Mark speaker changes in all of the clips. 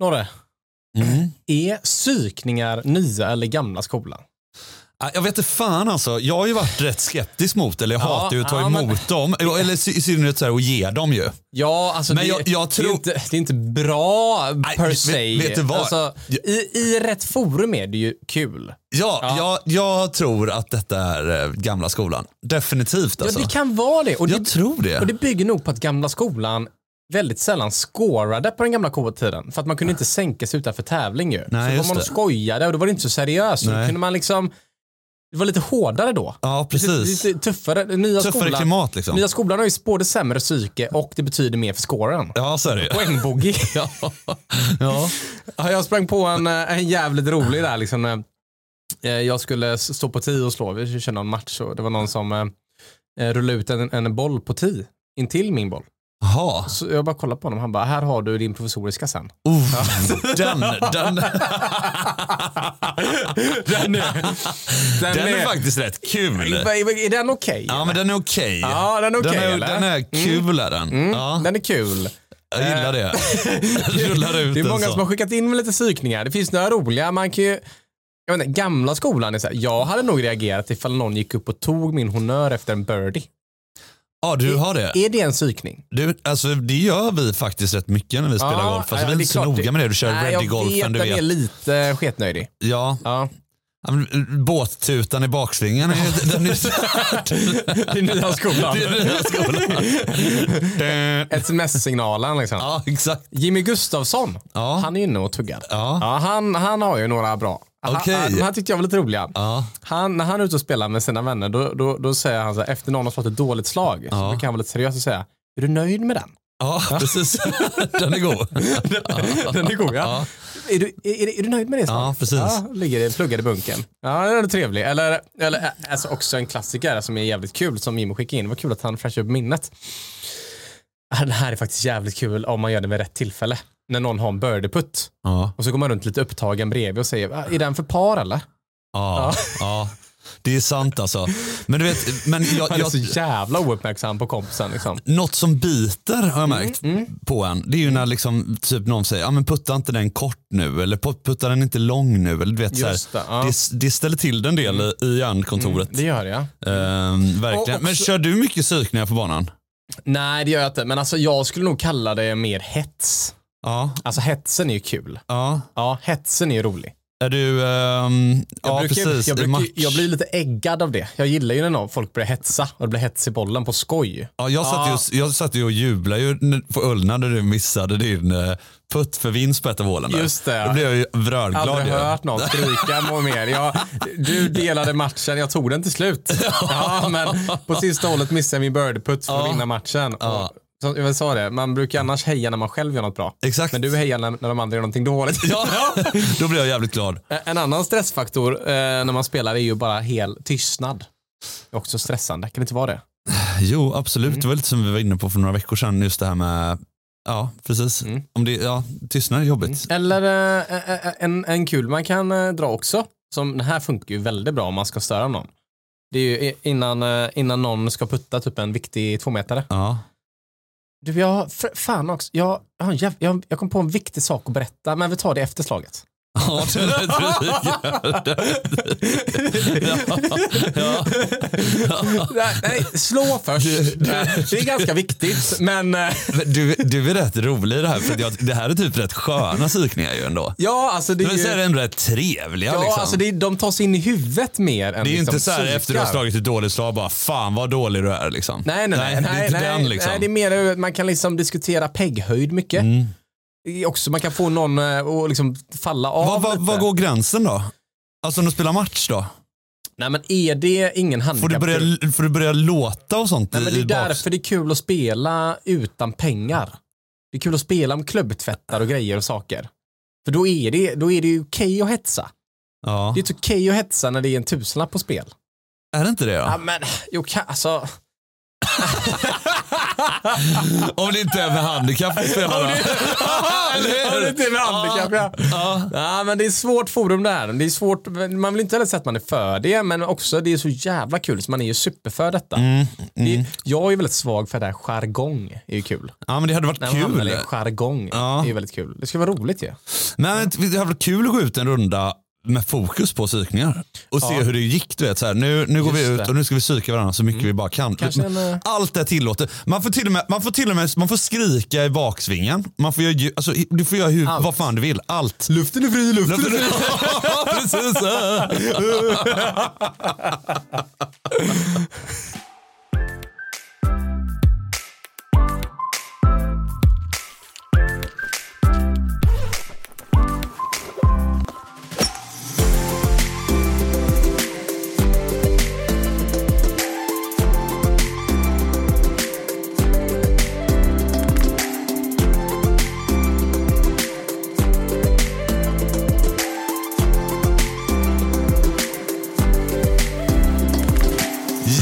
Speaker 1: Norre,
Speaker 2: Mm.
Speaker 1: är psykningar nya eller gamla skolan?
Speaker 2: Ah, Jag vet inte fan alltså. Jag har ju varit rätt skeptisk mot, eller jag
Speaker 1: Ja,
Speaker 2: hatar ju att ta
Speaker 1: ja, men-
Speaker 2: emot dem. Eller i sy- i synnerhet så här, och ge dem ju.
Speaker 1: Ja, alltså
Speaker 2: Men
Speaker 1: det,
Speaker 2: jag- jag tror-
Speaker 1: det, är inte, det är inte bra per
Speaker 2: vet-
Speaker 1: se.
Speaker 2: vet du vad?
Speaker 1: Alltså, i, I rätt forum är det ju kul.
Speaker 2: Ja,
Speaker 1: Ja.
Speaker 2: Jag, jag tror att detta är eh, gamla skolan. Definitivt alltså.
Speaker 1: Ja, det kan vara det. Och
Speaker 2: Jag
Speaker 1: det,
Speaker 2: tror det.
Speaker 1: och det bygger nog på att gamla skolan väldigt sällan scorade på den gamla coola tiden. För att man kunde inte sänka sig utanför tävling ju. så
Speaker 2: just
Speaker 1: var man
Speaker 2: det.
Speaker 1: och skojade och då var det inte så seriöst. Så då
Speaker 2: Nej.
Speaker 1: kunde man liksom, det var lite hårdare då.
Speaker 2: Ja, precis.
Speaker 1: Lite tuffare. Den Nya
Speaker 2: Tuffare
Speaker 1: skolan,
Speaker 2: klimat liksom.
Speaker 1: nya skolan har ju både sämre psyke och det betyder mer för scoren.
Speaker 2: Ja, så är det ju.
Speaker 1: Poängbogey.
Speaker 2: Ja. ja.
Speaker 1: Ja, jag sprang på en, eh, en jävligt rolig där. Liksom, eh, eh, jag skulle s- stå på 10 och slå. Vi körde någon match och det var någon som eh, eh, rullade ut en, en boll på 10 in till min boll.
Speaker 2: Jaha.
Speaker 1: Så jag bara kollade på honom. Han bara, här har du din provisoriska sen.
Speaker 2: Oh, den, den,
Speaker 1: Den är, den
Speaker 2: den är
Speaker 1: är-
Speaker 2: faktiskt rätt kul.
Speaker 1: Är den okej?
Speaker 2: Ja, men den är okej.
Speaker 1: Ja, den är okej,
Speaker 2: den,
Speaker 1: eller? Mm.
Speaker 2: är, den är kul är den. Ja,
Speaker 1: Den är kul.
Speaker 2: jag gillar det. Jag rullar ut
Speaker 1: Det är
Speaker 2: den
Speaker 1: många
Speaker 2: så.
Speaker 1: som har skickat in med lite psykningar. Det finns några roliga. Man kan ju, jag vet inte, gamla skolan är så här, jag hade nog reagerat ifall någon gick upp och tog min honör efter en birdie.
Speaker 2: Ja, du har det.
Speaker 1: Är det en psykning?
Speaker 2: Du, alltså, det gör vi faktiskt rätt mycket när vi spelar
Speaker 1: Ja,
Speaker 2: golf. Alltså,
Speaker 1: ja,
Speaker 2: vi är
Speaker 1: det
Speaker 2: inte så
Speaker 1: klart.
Speaker 2: noga med det. Du kör
Speaker 1: Nej,
Speaker 2: ready-golfen, du
Speaker 1: Jag vet, den är
Speaker 2: vet.
Speaker 1: lite sketnöjdig.
Speaker 2: Ja.
Speaker 1: Ja.
Speaker 2: Ja, men eh, Båttutan i bakslingan, är- den är
Speaker 1: I nya skolan.
Speaker 2: Det är den här skolan.
Speaker 1: Sms-signalen liksom.
Speaker 2: Ja, exakt.
Speaker 1: Jimmy Gustafsson,
Speaker 2: Ja.
Speaker 1: han är inne och tuggar.
Speaker 2: Ja.
Speaker 1: Ja, han, han har ju några bra. Han-
Speaker 2: Okej.
Speaker 1: Han, de här tyckte jag var lite roliga.
Speaker 2: Ja.
Speaker 1: Han, när han är ute och spelar med sina vänner, då, då, då säger han så här, efter någon har slått ett dåligt slag, så brukar han vara lite seriös och säga, är du nöjd med den?
Speaker 2: ja, precis. Den är god.
Speaker 1: Den är god ja. Är, du, är, är, är du nöjd med det? slaget?
Speaker 2: precis.
Speaker 1: Ja, ligger i, pluggar i bunken. Ja, den är ändå trevlig. Eller, eller ä- alltså också en klassiker som är jävligt kul som Jimmy skickade in. Det var kul att han flashade upp minnet. Ah, Den här är faktiskt jävligt kul om man gör det vid rätt tillfälle. När någon har en birdieputt
Speaker 2: Ja.
Speaker 1: och så går man runt lite upptagen bredvid och säger, "Ah, är den för par eller?
Speaker 2: Ja, ja. Det är sant alltså. Men du vet, men jag,
Speaker 1: Han är
Speaker 2: jag,
Speaker 1: så jävla ouppmärksam på kompisen liksom.
Speaker 2: något som biter har
Speaker 1: Mm,
Speaker 2: jag märkt på en. Det är ju när liksom, typ någon säger, ah, men putta inte den kort nu eller "Put- putta den inte lång nu. Eller, du vet, så här,
Speaker 1: Just det, ja. Mm.
Speaker 2: det, det ställer till den del i- i hjärnkontoret.
Speaker 1: Det gör jag.
Speaker 2: Ehm, verkligen.
Speaker 1: Och också-
Speaker 2: Men kör du mycket psykningar på banan?
Speaker 1: Nej, det gör jag inte. Men alltså jag skulle nog kalla det mer hets.
Speaker 2: Ja.
Speaker 1: Alltså hetsen är ju kul.
Speaker 2: ja.
Speaker 1: Ja, hetsen är ju rolig.
Speaker 2: Är du, ehm,
Speaker 1: Jag,
Speaker 2: ja
Speaker 1: brukar,
Speaker 2: precis,
Speaker 1: jag,
Speaker 2: i match.
Speaker 1: brukar, jag blir lite äggad av det. Jag gillar ju när någon, folk börjar hetsa och det blir hets i bollen på skoj.
Speaker 2: Ja, jag, satt
Speaker 1: Ja.
Speaker 2: Ju, jag satt ju och jublade ju n- på Ullna när du missade din eh, putt för vinst på ett av hålen. där.
Speaker 1: Just det.
Speaker 2: Då blev jag ju
Speaker 1: Jag har
Speaker 2: vrörglad.
Speaker 1: aldrig
Speaker 2: ju.
Speaker 1: hört någon skrika må mer. Jag, du delade matchen, jag tog den till slut. Ja, men på sista hålet missade jag min birdputt för att vinna matchen. Och, som jag sa det, man brukar annars heja när man själv gör något bra.
Speaker 2: Exakt.
Speaker 1: Men du hejar när, när de andra gör någonting dåligt.
Speaker 2: Ja, då blev jag jävligt glad.
Speaker 1: Eh, En annan stressfaktor eh, när man spelar är ju bara hel tystnad. Det är också stressande, kan det inte vara det?
Speaker 2: Jo, absolut.
Speaker 1: Mm.
Speaker 2: Det var lite som vi var inne på för några veckor sedan, just det här med Ja, precis.
Speaker 1: Mm.
Speaker 2: Om det, ja, tystnad är jobbigt.
Speaker 1: Eller eh, eh, eh, en, en kul man kan eh, dra också. Som, den här funkar ju väldigt bra om man ska störa någon. Det är ju i- innan, eh, innan någon ska putta typ en viktig tvåmetare.
Speaker 2: Ja.
Speaker 1: Du, jag, för, fan också, jag, jag, har en jäv- jag, jag kom på en viktig sak att berätta, men vi tar det efter slaget.
Speaker 2: Ja, det är det. ja.
Speaker 1: Nej, nej, slå först. Det är ganska viktigt, men eh,
Speaker 2: Men Du, du är rätt rolig i det här, för jag, det här är typ rätt sköna psykningar ju ändå.
Speaker 1: ja, alltså det är
Speaker 2: Men så är
Speaker 1: ju...
Speaker 2: det ändå rätt trevliga
Speaker 1: Ja,
Speaker 2: liksom.
Speaker 1: alltså det är, de tar sig in i huvudet mer än
Speaker 2: Det är ju
Speaker 1: liksom
Speaker 2: inte så här efter du har
Speaker 1: psykar.
Speaker 2: slagit ett dåligt slag bara fan vad dålig du är liksom.
Speaker 1: Nej, nej, nej.
Speaker 2: det är
Speaker 1: nej,
Speaker 2: inte
Speaker 1: nej,
Speaker 2: den liksom. Mm.
Speaker 1: nej, det är mer att man kan liksom diskutera pegghöjd mycket. Det är Också, man kan få någon eh, att liksom falla av
Speaker 2: vad, vad,
Speaker 1: lite.
Speaker 2: vad går gränsen då? Alltså om du spelar match då?
Speaker 1: Nej men E är det ingen
Speaker 2: Får
Speaker 1: handikapp?
Speaker 2: du börja, får du börja låta och sånt
Speaker 1: Nej, men det
Speaker 2: i
Speaker 1: är
Speaker 2: bak-
Speaker 1: därför det är kul att spela utan pengar. Det är kul att spela med klubbtvättar och grejer och saker. För då är det, då är det ju okej att hetsa.
Speaker 2: Ja.
Speaker 1: Det är inte okej att hetsa när det är en tusenlapp på spel.
Speaker 2: Är det inte det då?
Speaker 1: Ja, men, jo, ka- alltså,
Speaker 2: Om det inte är med handikapp vi spelar då.
Speaker 1: Ja, det är till med handikapp ja.
Speaker 2: Ja.
Speaker 1: Ja, men det är ett svårt forum det här. Det är svårt, man vill inte heller säga att man är för det, men också det är så jävla kul så man är ju superför detta. Det, jag är ju väldigt svag för det här jargong, är ju kul.
Speaker 2: ja, men det hade varit
Speaker 1: När man hamnar i
Speaker 2: kul.
Speaker 1: en jargong
Speaker 2: Ja.
Speaker 1: är ju väldigt kul. Det ska vara roligt ju.
Speaker 2: Men det hade varit kul att gå ut en runda med fokus på psykningar och se
Speaker 1: Ja.
Speaker 2: hur det gick. Du vet, så här, nu, nu går vi
Speaker 1: Just
Speaker 2: ut
Speaker 1: det. Mm.
Speaker 2: och nu ska vi psyka varandra så mycket vi bara kan.
Speaker 1: Kanske en, eh,
Speaker 2: Allt är tillåtet. Man får till och med, man får till och med man får skrika i baksvingen. Man får göra, ju- alltså, i- du får göra hur,
Speaker 1: Allt.
Speaker 2: vad fan du vill. Allt.
Speaker 1: Luften är fri, luften
Speaker 2: Precis.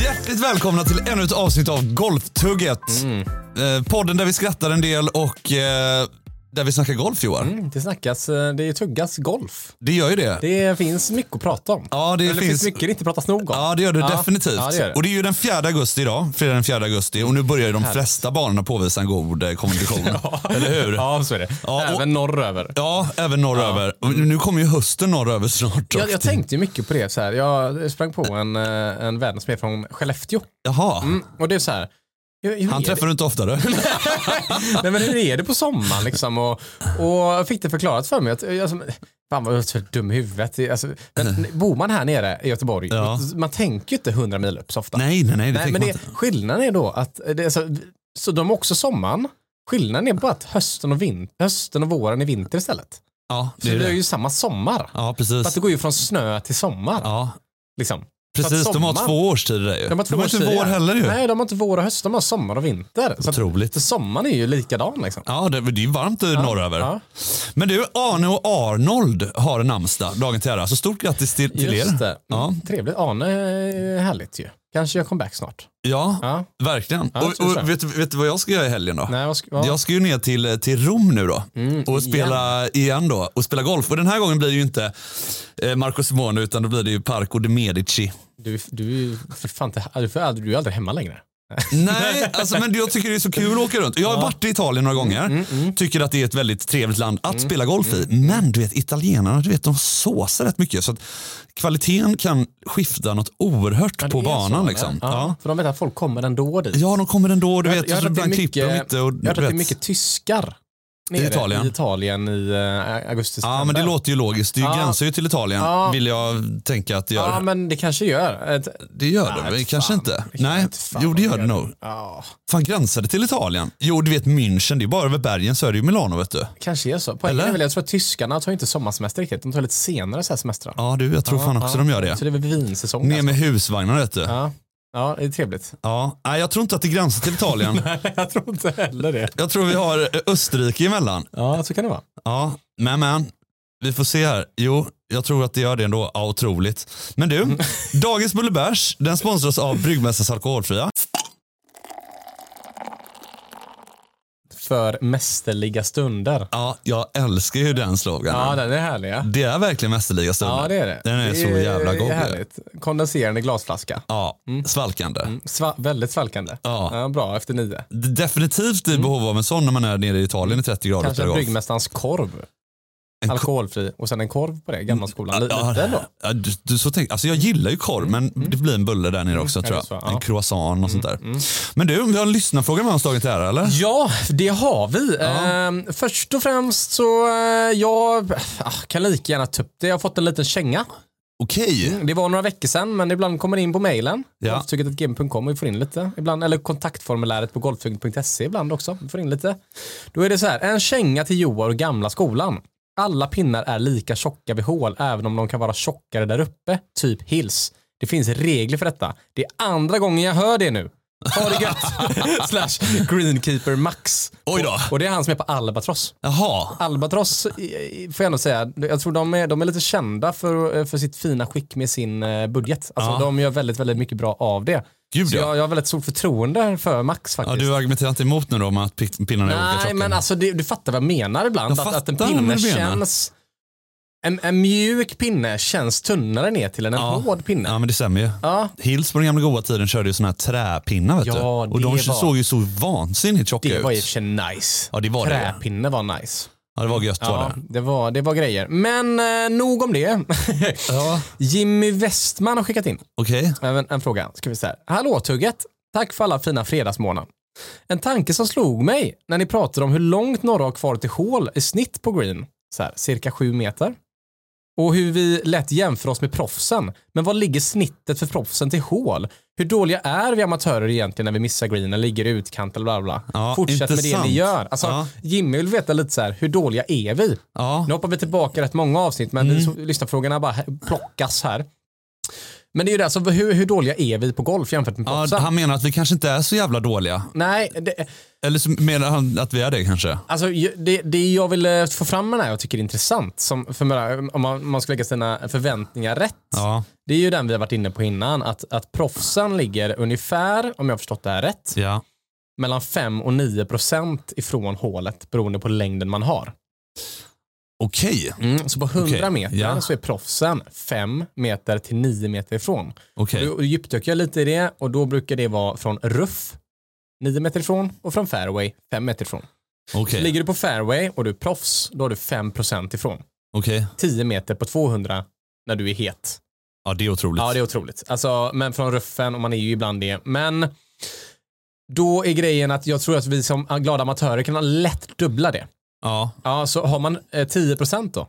Speaker 2: Hjärtligt välkomna till ännu ett avsnitt av Golftugget.
Speaker 1: Mm.
Speaker 2: Eh, podden där vi skrattar en del och eh, där vi snackar golf Johan.
Speaker 1: Det snackas, eh, det tuggas golf.
Speaker 2: Det gör ju det.
Speaker 1: Det finns mycket att prata om.
Speaker 2: Ja, det
Speaker 1: Eller det finns
Speaker 2: finns-
Speaker 1: mycket det inte pratas nog om.
Speaker 2: Ja, det gör det definitivt.
Speaker 1: Ja, det gör det.
Speaker 2: Och det är ju den 4 augusti idag, fredag den 4 augusti. Och nu börjar ju de
Speaker 1: Härligt.
Speaker 2: flesta banorna påvisa en god eh, kommunikation. Eller hur? Ja.
Speaker 1: Ja, så är det.
Speaker 2: Ja, och-
Speaker 1: Även norröver.
Speaker 2: även norröver. Och Nu kommer ju hösten norröver snart.
Speaker 1: Jag, jag tänkte ju mycket på det. Så här. Jag sprang på en, eh, en vän som är från Skellefteå.
Speaker 2: Jaha,
Speaker 1: Mm, och det är så här. Hur, hur
Speaker 2: han
Speaker 1: är
Speaker 2: träffar du inte oftare.
Speaker 1: det? Nej, men hur är det på sommaren liksom? Och, och jag fick det förklarat för mig. Att, eh, alltså, fan vad jag är så dum i huvudet. Det- Alltså, men, bor man här nere i Göteborg,
Speaker 2: Ja.
Speaker 1: man tänker ju inte 100 mil upp så ofta.
Speaker 2: nej, nej, nej. Det
Speaker 1: Nej, men
Speaker 2: tänker man
Speaker 1: det,
Speaker 2: inte.
Speaker 1: skillnaden är då att, eh, det, är så, så de har också sommaren, skillnaden är bara att hösten och, vin, hösten och våren är vinter istället.
Speaker 2: Ja,
Speaker 1: Så
Speaker 2: det
Speaker 1: det
Speaker 2: är
Speaker 1: är
Speaker 2: det.
Speaker 1: ju samma sommar.
Speaker 2: Ja,
Speaker 1: För att
Speaker 2: precis.
Speaker 1: det går ju från snö till sommar.
Speaker 2: Ja,
Speaker 1: Liksom.
Speaker 2: precis. De har
Speaker 1: sommar-
Speaker 2: två årstider där ju.
Speaker 1: De har, två
Speaker 2: inte
Speaker 1: årstider.
Speaker 2: vår heller ju.
Speaker 1: Nej, de har inte vår och höst, de har sommar och vinter. Så att,
Speaker 2: Otroligt.
Speaker 1: så sommaren är ju likadan liksom.
Speaker 2: Ja, det, det är ju varmt eh, norröver.
Speaker 1: Ja,
Speaker 2: Men du, Arne och Arnold har namnsdag dagen till ära. Så stort grattis till, till er.
Speaker 1: just det.
Speaker 2: Ja.
Speaker 1: Mm, Trevligt. Arne är härligt ju. Kanske jag comeback snart.
Speaker 2: Ja,
Speaker 1: Ja.
Speaker 2: Verkligen.
Speaker 1: Ja,
Speaker 2: och
Speaker 1: jag tror så.
Speaker 2: och vet, du- vet du vad jag ska göra i helgen då?
Speaker 1: Nej, vad Mm, ska, ja.
Speaker 2: Jag ska ju ner till, eh, till Rom nu då och spela igen. då och spela golf. Och den här gången blir det ju inte eh, Marco Simone utan då blir det ju Parco de Medici.
Speaker 1: Du, du, är ju för fan, inte- du, får aldrig- du är aldrig hemma längre.
Speaker 2: Nej, alltså, men jag tycker det är så kul att åka runt. Jag har varit i Italien några gånger.
Speaker 1: Mm,
Speaker 2: Tycker att det är ett väldigt trevligt land att spela golf i. Men du vet, italienarna du vet, de såsar rätt mycket. Så att kvaliteten kan skifta något oerhört
Speaker 1: Ja, det
Speaker 2: på
Speaker 1: är
Speaker 2: banan.
Speaker 1: så,
Speaker 2: liksom.
Speaker 1: Ja.
Speaker 2: ja.
Speaker 1: För de vet att folk kommer ändå dit.
Speaker 2: ja, de kommer ändå. Du vet,
Speaker 1: har
Speaker 2: så
Speaker 1: hört att det är
Speaker 2: ibland klipper de inte. Och,
Speaker 1: jag har hört att det är
Speaker 2: vet.
Speaker 1: mycket tyskar nere
Speaker 2: Italien.
Speaker 1: i Italien i eh, augusti.
Speaker 2: Ja, men
Speaker 1: september.
Speaker 2: det låter ju logiskt. Det
Speaker 1: Ja.
Speaker 2: gränsar ju till Italien,
Speaker 1: Ja.
Speaker 2: vill jag tänka att det gör.
Speaker 1: Ja, men det kanske gör. Ett,
Speaker 2: Det gör det,
Speaker 1: Nej,
Speaker 2: men
Speaker 1: fan.
Speaker 2: kanske inte.
Speaker 1: Det
Speaker 2: Nej,
Speaker 1: inte fan
Speaker 2: jo det
Speaker 1: vad
Speaker 2: gör det nog.
Speaker 1: Ja,
Speaker 2: Fan, gränsar det till Italien? Jo, du vet München, det är bara över bergen så är det ju Milano, vet du.
Speaker 1: kanske är så. Poängen
Speaker 2: Eller?
Speaker 1: är väl, jag tror att tyskarna tar ju inte sommarsemester riktigt. De tar lite senare så här semestrar.
Speaker 2: Ja, du, jag tror fan också de gör det.
Speaker 1: Så det är väl vinsäsong.
Speaker 2: Ner
Speaker 1: alltså.
Speaker 2: med husvagnar, vet du.
Speaker 1: Ja. ja, det är trevligt.
Speaker 2: Ja. Nej, jag tror inte att det gränsar till Italien.
Speaker 1: Nej, jag tror inte heller det.
Speaker 2: Jag tror vi har eh, Österrike emellan.
Speaker 1: Ja, så kan det vara.
Speaker 2: Ja, men men. Vi får se här. Jo, jag tror att det gör det ändå. Ja, otroligt. Men du, dagens Bullebärs, den sponsras av Bryggmästarens Alkoholfria.
Speaker 1: För mästerliga stunder.
Speaker 2: Ja, jag älskar ju den sloganen.
Speaker 1: Ja, den är härlig. Ja,
Speaker 2: Det är verkligen mästerliga stunder.
Speaker 1: ja det är det.
Speaker 2: Den är
Speaker 1: det
Speaker 2: så jävla god.
Speaker 1: Det är härligt. Kondenserande glasflaska.
Speaker 2: Ja, svalkande.
Speaker 1: Sva- väldigt svalkande.
Speaker 2: Mm. Ja.
Speaker 1: bra, efter nio.
Speaker 2: Det är Definitivt i behov av en sån när man är nere i Italien i 30 grader.
Speaker 1: Kanske
Speaker 2: per golf.
Speaker 1: bryggmästarens korv.
Speaker 2: En ko-
Speaker 1: Alkoholfri och sen en korv på det, gamla skolan. Mm. Li-
Speaker 2: Ja,
Speaker 1: Liten då.
Speaker 2: ja, du, du, så tänk, alltså jag gillar ju korv men det blir en bulle där nere också
Speaker 1: är
Speaker 2: tror jag.
Speaker 1: Mm, det så? Ja. Mm,
Speaker 2: En croissant och sånt där. Men du, vi har en lyssnarfråga med oss dagen till ära eller?
Speaker 1: Ja, det har vi. Ehm, först och främst så, eh, jag ah, kan lika gärna ta upp det. Jag har fått en liten känga.
Speaker 2: Okej.
Speaker 1: Det var några veckor sedan, men ibland kommer det in på mejlen.
Speaker 2: Ja.
Speaker 1: Golftyget.gm.com och vi får in lite. Ibland, eller kontaktformuläret på golftyget.se ibland också. Vi får in lite. Då är det så här, en känga till Joar och gamla skolan. Alla pinnar är lika tjocka vid hål, även om de kan vara tjockare där uppe. Typ hills. Det finns regler för detta. Det är andra gången jag hör det nu. Ha det gött! Slash greenkeeper max.
Speaker 2: Oj då.
Speaker 1: Och det är han som är på Albatross.
Speaker 2: Jaha.
Speaker 1: Albatross i- i- får jag ändå säga, jag tror de är, de är lite kända för, för sitt fina skick med sin eh, budget. Alltså
Speaker 2: Ja.
Speaker 1: de gör väldigt, väldigt mycket bra av det.
Speaker 2: Gud
Speaker 1: Så
Speaker 2: ja.
Speaker 1: jag, jag har väldigt stort förtroende för Max
Speaker 2: ja.
Speaker 1: faktiskt.
Speaker 2: Du har argumenterat emot nu då om att pi- pinnarna är olika
Speaker 1: Nej,
Speaker 2: tjocka.
Speaker 1: men alltså du, du fattar vad jag menar ibland.
Speaker 2: Jag
Speaker 1: att, att en
Speaker 2: fattar vad
Speaker 1: pinne
Speaker 2: du menar.
Speaker 1: känns... En, en mjuk pinne känns tunnare ner till än en
Speaker 2: Ja.
Speaker 1: hård pinne.
Speaker 2: Ja men det stämmer ju.
Speaker 1: Ja,
Speaker 2: Hills på den gamla goda tiden körde ju såna här träpinnar vet du.
Speaker 1: Ja,
Speaker 2: Och de
Speaker 1: det var-
Speaker 2: såg ju så vansinnigt tjocka
Speaker 1: det var i och
Speaker 2: ut.
Speaker 1: för sig nice.
Speaker 2: Ja det var det.
Speaker 1: Träpinne var nice.
Speaker 2: Ja det var gött var
Speaker 1: Ja,
Speaker 2: det.
Speaker 1: det var, det var grejer. Men eh, nog om det.
Speaker 2: Ja.
Speaker 1: Jimmy Westman har skickat in
Speaker 2: Okej.
Speaker 1: en, en fråga. Ska vi se här. Hallå Tugget! Tack för alla fina fredagsmorgnar. En tanke som slog mig när ni pratade om hur långt några har kvar till hål i snitt på green, så här, cirka sju meter. Och hur vi lätt jämför oss med proffsen. Men vad ligger snittet för proffsen till hål? Hur dåliga är vi amatörer egentligen när vi missar greenen, ligger i utkant eller bla bla? bla?
Speaker 2: Ja,
Speaker 1: Fortsätt med
Speaker 2: intressant.
Speaker 1: det ni gör. Alltså,
Speaker 2: Ja.
Speaker 1: Jimmy vill veta lite så här, hur dåliga är vi?
Speaker 2: Ja.
Speaker 1: Nu hoppar vi tillbaka rätt många avsnitt men
Speaker 2: Mm.
Speaker 1: vi- så- lyssnarfrågorna bara he- plockas här. Men det är ju det, alltså, hur, hur dåliga är vi på golf jämfört med
Speaker 2: Ja,
Speaker 1: proffsen?
Speaker 2: han menar att vi kanske inte är så jävla dåliga.
Speaker 1: Nej, det,
Speaker 2: Eller så menar han att vi är det kanske.
Speaker 1: alltså, ju- det, det jag vill eh, få fram med det här jag tycker är intressant, som, för mig, om man, om man ska lägga sina förväntningar rätt,
Speaker 2: Ja,
Speaker 1: det är ju den vi har varit inne på innan, att, att proffsen ligger ungefär, om jag har förstått det här rätt,
Speaker 2: ja.
Speaker 1: mellan 5 och 9 procent ifrån hålet beroende på längden man har.
Speaker 2: Okej,
Speaker 1: Mm, så på 100
Speaker 2: Okej,
Speaker 1: meter
Speaker 2: ja.
Speaker 1: så är proffsen 5 meter till 9 meter ifrån.
Speaker 2: okej.
Speaker 1: Då djupdök jag lite i det och då brukar det vara från ruff 9 meter ifrån och från fairway 5 meter ifrån.
Speaker 2: Okej,
Speaker 1: Ligger du på fairway och du är proffs, då har du 5% ifrån.
Speaker 2: okej.
Speaker 1: 10 meter på 200 när du är het.
Speaker 2: Ja, det är otroligt.
Speaker 1: Ja, det är otroligt. Alltså, men från ruffen, och man är ju ibland det. Men då är grejen att jag tror att vi som glada amatörer kan ha lätt dubbla det.
Speaker 2: Ja,
Speaker 1: Ja, så har man eh, 10% då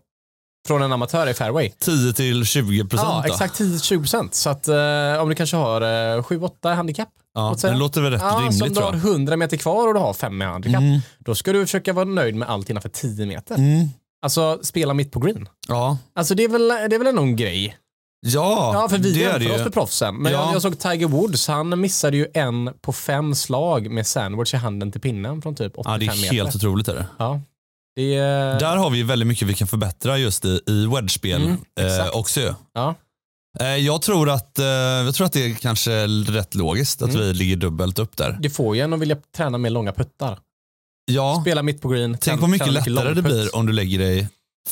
Speaker 1: från en amatör i fairway,
Speaker 2: 10 till 20 procent
Speaker 1: Ja, exakt 10-20%. Så att eh, om du kanske har eh, 7-8 handikapp.
Speaker 2: Ja,
Speaker 1: låt säga.
Speaker 2: det låter väl rätt
Speaker 1: Ja,
Speaker 2: rimligt
Speaker 1: så om
Speaker 2: tror
Speaker 1: du har
Speaker 2: jag.
Speaker 1: 100 meter kvar och du har 5 med handikapp,
Speaker 2: Mm.
Speaker 1: då ska du försöka vara nöjd med allt innanför 10 meter.
Speaker 2: Mm.
Speaker 1: Alltså spela mitt på green.
Speaker 2: Ja.
Speaker 1: Alltså det är väl, det är väl ändå en grej.
Speaker 2: Ja,
Speaker 1: Ja, för vi
Speaker 2: det är det
Speaker 1: jämför oss
Speaker 2: ju.
Speaker 1: med proffsen. Men
Speaker 2: Ja.
Speaker 1: jag, jag såg Tiger Woods, han missade ju en på fem slag med sandwich i handen till pinnen från typ 85
Speaker 2: Ja, det är
Speaker 1: meter. Eh.
Speaker 2: helt otroligt. Är det.
Speaker 1: Ja. Det är,
Speaker 2: Där har vi ju väldigt mycket vi kan förbättra just i, i wedge-spel
Speaker 1: Mm,
Speaker 2: eh,
Speaker 1: exakt.
Speaker 2: också. ju.
Speaker 1: ja.
Speaker 2: Eh, jag, tror att, eh, jag tror att det är kanske rätt logiskt
Speaker 1: Mm.
Speaker 2: att vi ligger dubbelt upp där.
Speaker 1: Det får ju en att vilja träna med långa puttar.
Speaker 2: Ja,
Speaker 1: Spela mitt på green.
Speaker 2: tänk
Speaker 1: träna-
Speaker 2: vad mycket
Speaker 1: träna
Speaker 2: lättare det
Speaker 1: långputt.
Speaker 2: blir om du lägger dig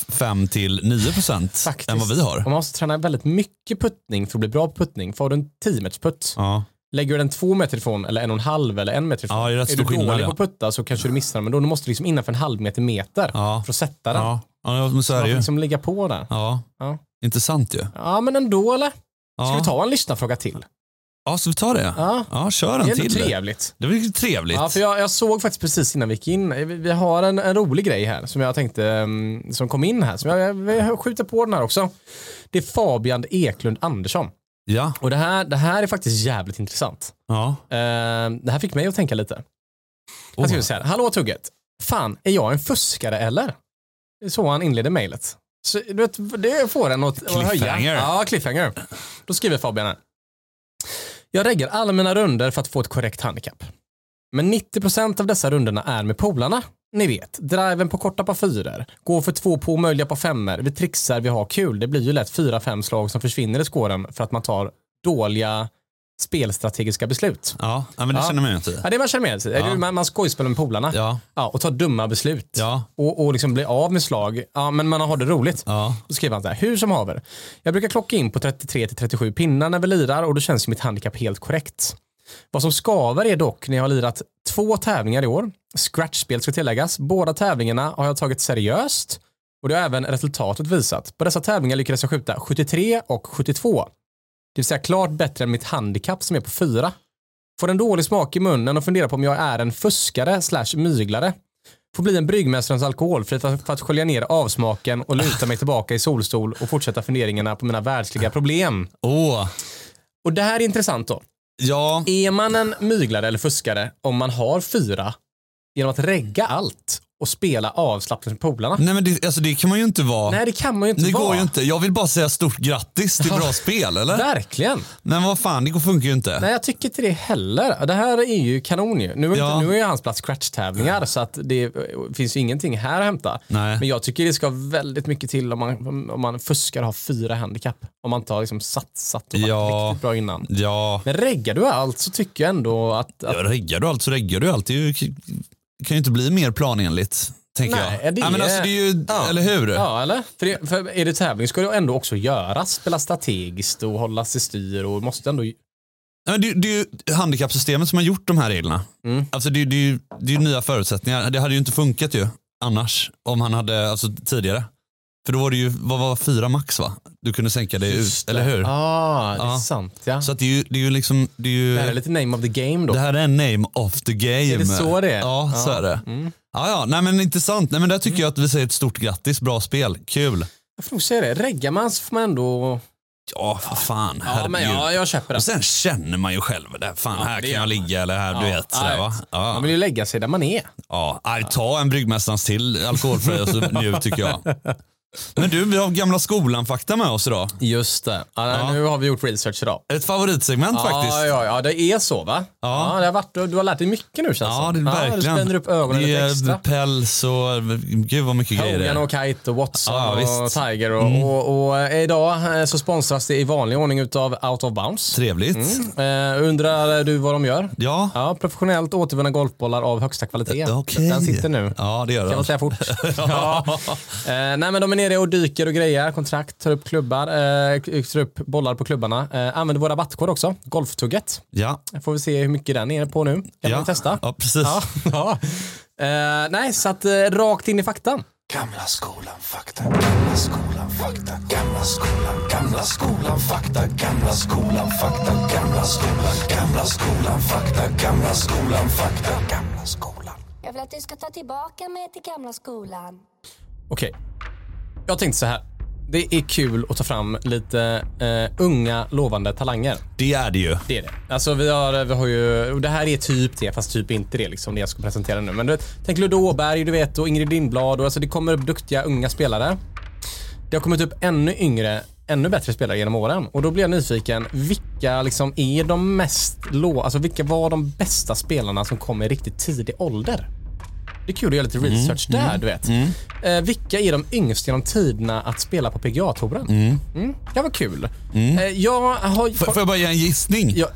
Speaker 2: 5 till 9 procent
Speaker 1: Faktiskt.
Speaker 2: än vad vi har.
Speaker 1: Och man måste träna väldigt mycket puttning för att bli bra på puttning. För har du en 10 meters putt,
Speaker 2: Ja.
Speaker 1: lägger du den två meter ifrån eller en och en halv eller en meter ifrån.
Speaker 2: Ja, det är rätt
Speaker 1: är
Speaker 2: stor
Speaker 1: du
Speaker 2: skillnad,
Speaker 1: dålig
Speaker 2: ja.
Speaker 1: på att putta så kanske du missar den, men då måste du liksom innanför en halv meter meter
Speaker 2: Ja.
Speaker 1: för att sätta den.
Speaker 2: Ja. ja, men så
Speaker 1: Man
Speaker 2: är
Speaker 1: får
Speaker 2: det ju.
Speaker 1: liksom ligga på där.
Speaker 2: Ja.
Speaker 1: Ja.
Speaker 2: Intressant ju. Ska
Speaker 1: Ja, men ändå eller? Ska
Speaker 2: ja.
Speaker 1: vi ta en lyssnarfråga till?
Speaker 2: Ja, ska vi ta det?
Speaker 1: Ja.
Speaker 2: Ja, kör
Speaker 1: Det
Speaker 2: en
Speaker 1: är ändå
Speaker 2: till.
Speaker 1: trevligt.
Speaker 2: Det var ju trevligt.
Speaker 1: Ja, för jag, jag såg faktiskt precis innan vi gick in, eh, vi, vi har en, en rolig grej här som jag tänkte, mm, som kom in här, som jag, jag, jag skjuter på den här också. Det är Fabian Eklund Andersson.
Speaker 2: ja.
Speaker 1: Och det här, det här är faktiskt jävligt intressant.
Speaker 2: ja.
Speaker 1: Eh, det här fick mig att tänka lite.
Speaker 2: Oh.
Speaker 1: Han skriver så här, hallå Tugget. Fan, är jag en fuskare eller? Det är så han inleder mejlet. Så du vet, det får en att, att höja.
Speaker 2: Cliffhanger.
Speaker 1: Ja, cliffhanger. Då skriver Fabian här. Jag reggar alla mina runder för att få ett korrekt handikapp. Men 90% av dessa runderna är med polarna. Ni vet, driven på korta par fyror, går för två på omöjliga par femmor, vi trixar, vi har kul. Det blir ju lätt fyra, fem slag som försvinner i skåren för att man tar dåliga spelstrategiska beslut.
Speaker 2: Ja, ja, men det
Speaker 1: Ja.
Speaker 2: känner man ju inte.
Speaker 1: Ja, det är man känner med sig.
Speaker 2: Ja.
Speaker 1: Man, man skojspelar med polarna
Speaker 2: Ja,
Speaker 1: ja, och tar dumma beslut.
Speaker 2: ja,
Speaker 1: Och, och liksom blir av med slag. Ja, men man har det roligt.
Speaker 2: ja.
Speaker 1: Då skriver han så här, hur som haver. Jag brukar klocka in på 33-37 pinnar när vi lirar och då känns ju mitt handikapp helt korrekt. Vad som skaver är dock när jag har lirat två tävlingar i år. Scratchspel ska tilläggas. Båda tävlingarna har jag tagit seriöst och det har även resultatet visat. På dessa tävlingar lyckades jag skjuta 73 och 72. Det vill säga klart bättre än mitt handikapp som är på 4. Får en dålig smak i munnen och funderar på om jag är en fuskare slash myglare. Får bli en bryggmästarens alkoholfri för, för att skölja ner avsmaken och luta mig tillbaka i solstol och fortsätta funderingarna på mina världsliga problem.
Speaker 2: Åh.
Speaker 1: Och det här är intressant då.
Speaker 2: Ja,
Speaker 1: Är man en myglare eller fuskare om man har fyra genom att regga allt och spela avslappnat med polarna.
Speaker 2: Nej men det, alltså, det kan man ju inte vara.
Speaker 1: Nej, det kan man ju inte
Speaker 2: det
Speaker 1: vara.
Speaker 2: går ju inte. Jag vill bara säga stort grattis till bra spel eller?
Speaker 1: Verkligen.
Speaker 2: Men vad fan, det funkar ju inte.
Speaker 1: Nej, jag tycker inte det heller. Det här är ju kanon ju. Nu är,
Speaker 2: Ja.
Speaker 1: inte, nu är ju hans plats scratch-tävlingar så att det eh, finns ju ingenting här att hämta.
Speaker 2: Nej.
Speaker 1: Men jag tycker det ska väldigt mycket till om man, om man fuskar och har fyra handikapp. Om man inte har liksom satsat och varit
Speaker 2: Ja.
Speaker 1: riktigt bra innan.
Speaker 2: Ja,
Speaker 1: Men reggar du allt så tycker jag ändå att...
Speaker 2: ja
Speaker 1: att
Speaker 2: reggar du allt så reggar du allt. Det är ju, kan ju inte bli mer planenligt. Tänker
Speaker 1: Nej,
Speaker 2: jag.
Speaker 1: det
Speaker 2: ja, men
Speaker 1: är-
Speaker 2: alltså, det är ju,
Speaker 1: Ja.
Speaker 2: Eller hur?
Speaker 1: ja, eller? För, det, för är det tävling ska det ändå också göras. Spela strategiskt och hålla sig styr och måste ändå...
Speaker 2: Ja, men Det, det är ju handikappsystemet som har gjort de här reglerna.
Speaker 1: Mm.
Speaker 2: Alltså det, det, är ju- det är ju nya förutsättningar. Det hade ju inte funkat ju annars om han hade, alltså tidigare. För då var det ju, vad var fyra max va? Du kunde sänka det ut, eller hur?
Speaker 1: Ah, det är
Speaker 2: Ja.
Speaker 1: sant ja.
Speaker 2: Så att det är ju, det är ju liksom, det är ju,
Speaker 1: det här är lite name of the game då.
Speaker 2: det här är name of the game.
Speaker 1: Är det så det är?
Speaker 2: Ja, så
Speaker 1: Ja.
Speaker 2: är det.
Speaker 1: Mm.
Speaker 2: Ja, ja, nej men intressant. Nej men där tycker jag att vi säger ett stort grattis, bra spel, kul.
Speaker 1: Jag får nog säga det. Reggar man så får man ändå...
Speaker 2: Ja, för fan,
Speaker 1: Ja, men
Speaker 2: herregud.
Speaker 1: ja, jag köper det.
Speaker 2: Och sen känner man ju själv, där, fan här
Speaker 1: det
Speaker 2: kan
Speaker 1: gör
Speaker 2: jag ligga eller här, du
Speaker 1: Ja,
Speaker 2: vet. Sådär,
Speaker 1: ja,
Speaker 2: va? Ja.
Speaker 1: Man vill ju lägga sig där man är.
Speaker 2: Ja, nej, ta en Bryggmästarens till alkoholfri och så njut tycker jag. Men du, vi har gamla skolan-fakta med oss idag.
Speaker 1: Just det. Ja, Nu har vi gjort research idag.
Speaker 2: Ett favoritsegment faktiskt.
Speaker 1: Ja, ja, ja, det är så va?
Speaker 2: Ja.
Speaker 1: det har varit, du har lärt dig mycket nu känns
Speaker 2: Ja, det är
Speaker 1: som. Du
Speaker 2: verkligen.
Speaker 1: spänner upp ögonen
Speaker 2: det
Speaker 1: lite
Speaker 2: är
Speaker 1: extra.
Speaker 2: päls och gud vad mycket grejer det
Speaker 1: Hogan
Speaker 2: är.
Speaker 1: och Kite och Watson
Speaker 2: Ja,
Speaker 1: och
Speaker 2: visst. Mm.
Speaker 1: Tiger. Och, och, och, eh, idag eh, så sponsras det i vanlig ordning utav Out of Bounds.
Speaker 2: Trevligt.
Speaker 1: Eh, undrar du vad de gör?
Speaker 2: Ja, Eh,
Speaker 1: Ja, professionellt återvunna golfbollar av högsta kvalitet.
Speaker 2: okej.
Speaker 1: Den sitter nu.
Speaker 2: Ja, det gör
Speaker 1: Kan man
Speaker 2: den.
Speaker 1: säga fort? ja. eh, nej, men de är nere och dyker och grejer, kontrakt, tar upp klubbar, eh, k- tar upp bollar på klubbarna. Eh, använder vår rabattkod också, golftugget.
Speaker 2: Ja,
Speaker 1: Får vi se hur mycket den är på nu. Kan
Speaker 2: ja.
Speaker 1: man testa?
Speaker 2: Ja, precis.
Speaker 1: Ja. ja. Eh, nej, så att eh, rakt in i faktan.
Speaker 3: Gamla skolan fakta, gamla skolan fakta, gamla skolan, gamla skolan fakta, gamla skolan fakta, gamla skolan, gamla skolan fakta, gamla skolan fakta, gamla skolan.
Speaker 4: Jag vill att du ska ta tillbaka mig till gamla skolan.
Speaker 1: Okej. Jag tänkte så här. Det är kul att ta fram lite eh, unga lovande talanger.
Speaker 2: Det är det ju.
Speaker 1: Det är det. Alltså vi har, vi har ju, och det här är typ det, fast typ inte det liksom, det jag ska presentera nu. Men du vet, tänk Ludde Åberg, du vet, och Ingrid Lindblad och alltså det kommer upp duktiga unga spelare. Det har kommit upp ännu yngre, ännu bättre spelare genom åren. Och då blir jag nyfiken, vilka liksom är de mest lå, alltså vilka var de bästa spelarna som kom i riktigt tidig ålder? Det är kul att göra lite research där, du vet. Eh, vilka är de yngsta genom tiderna att spela på PGA-touren? Mm. Det var kul. Eh, jag har...
Speaker 2: F- får jag bara ge en gissning?
Speaker 1: Ja,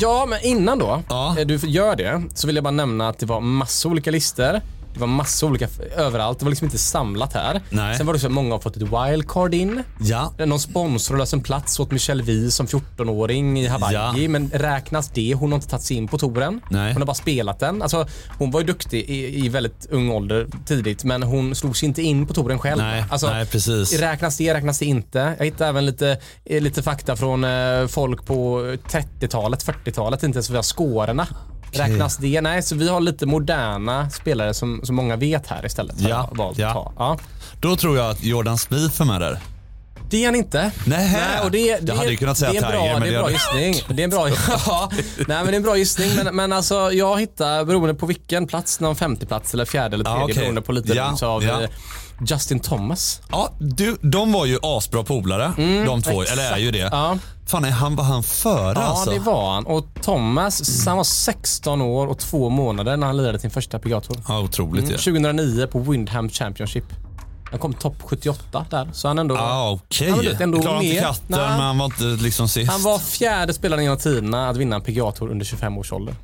Speaker 1: ja, men innan då
Speaker 2: Ja.
Speaker 1: eh, du gör det så vill jag bara nämna att det var massa olika listor. Det var massa olika f- överallt. Det var liksom inte samlat här.
Speaker 2: Nej.
Speaker 1: Sen var det så att många har fått ett wildcard in.
Speaker 2: Ja.
Speaker 1: Någon sponsor har löst en plats åt Michelle Vi som 14-åring i Hawaii.
Speaker 2: Ja.
Speaker 1: Men räknas det? Hon har inte tagit sig in på touren.
Speaker 2: Nej.
Speaker 1: Hon har bara spelat den. Alltså, hon var ju duktig i, i väldigt ung ålder tidigt, men hon slog sig inte in på touren själv.
Speaker 2: Nej,
Speaker 1: alltså,
Speaker 2: nej, precis.
Speaker 1: Räknas det, räknas det inte? Jag hittade även lite, eh, lite fakta från eh, folk på 30-talet, 40-talet, inte ens via skårorna. Räknas det? Nej, så vi har lite moderna spelare som, som många vet här istället. har
Speaker 2: Ja,
Speaker 1: jag valt
Speaker 2: ja.
Speaker 1: Att ta. Ja.
Speaker 2: Då tror jag att Jordan Spieth är med där.
Speaker 1: Det är han inte.
Speaker 2: Nähä.
Speaker 1: och det, det,
Speaker 2: Jag hade ju kunnat säga
Speaker 1: det är en bra,
Speaker 2: Tiger, men
Speaker 1: det är en
Speaker 2: det
Speaker 1: bra
Speaker 2: hade-
Speaker 1: gissning. Det är en bra, ja, nej, men det är en bra gissning. Men, men alltså, jag hittar, beroende på vilken plats, någon femte plats eller fjärde eller
Speaker 2: Ja,
Speaker 1: tredje,
Speaker 2: okej.
Speaker 1: beroende på lite,
Speaker 2: Ja,
Speaker 1: så har vi
Speaker 2: ja.
Speaker 1: Justin Thomas.
Speaker 2: Ja, du, de var ju asbra polare, de två. Eller är ju det.
Speaker 1: Mm. Ja.
Speaker 2: Fan, är han, var han före
Speaker 1: Ja,
Speaker 2: alltså? Mm.
Speaker 1: det var han. Och Thomas, han var 16 år och två månader när han lirade sin första PGA-tour.
Speaker 2: Ja, otroligt
Speaker 1: Mm,
Speaker 2: ju.
Speaker 1: 2009 på Windham Championship. Han kom topp 78 där, så han ändå...
Speaker 2: Ah, Okej.
Speaker 1: Han var lite ändå
Speaker 2: Klarade inte
Speaker 1: med.
Speaker 2: katten,
Speaker 1: Nej.
Speaker 2: men han var inte liksom sist.
Speaker 1: Han var fjärde spelaren genom tiderna att vinna en PGA-tour under 25 års ålder.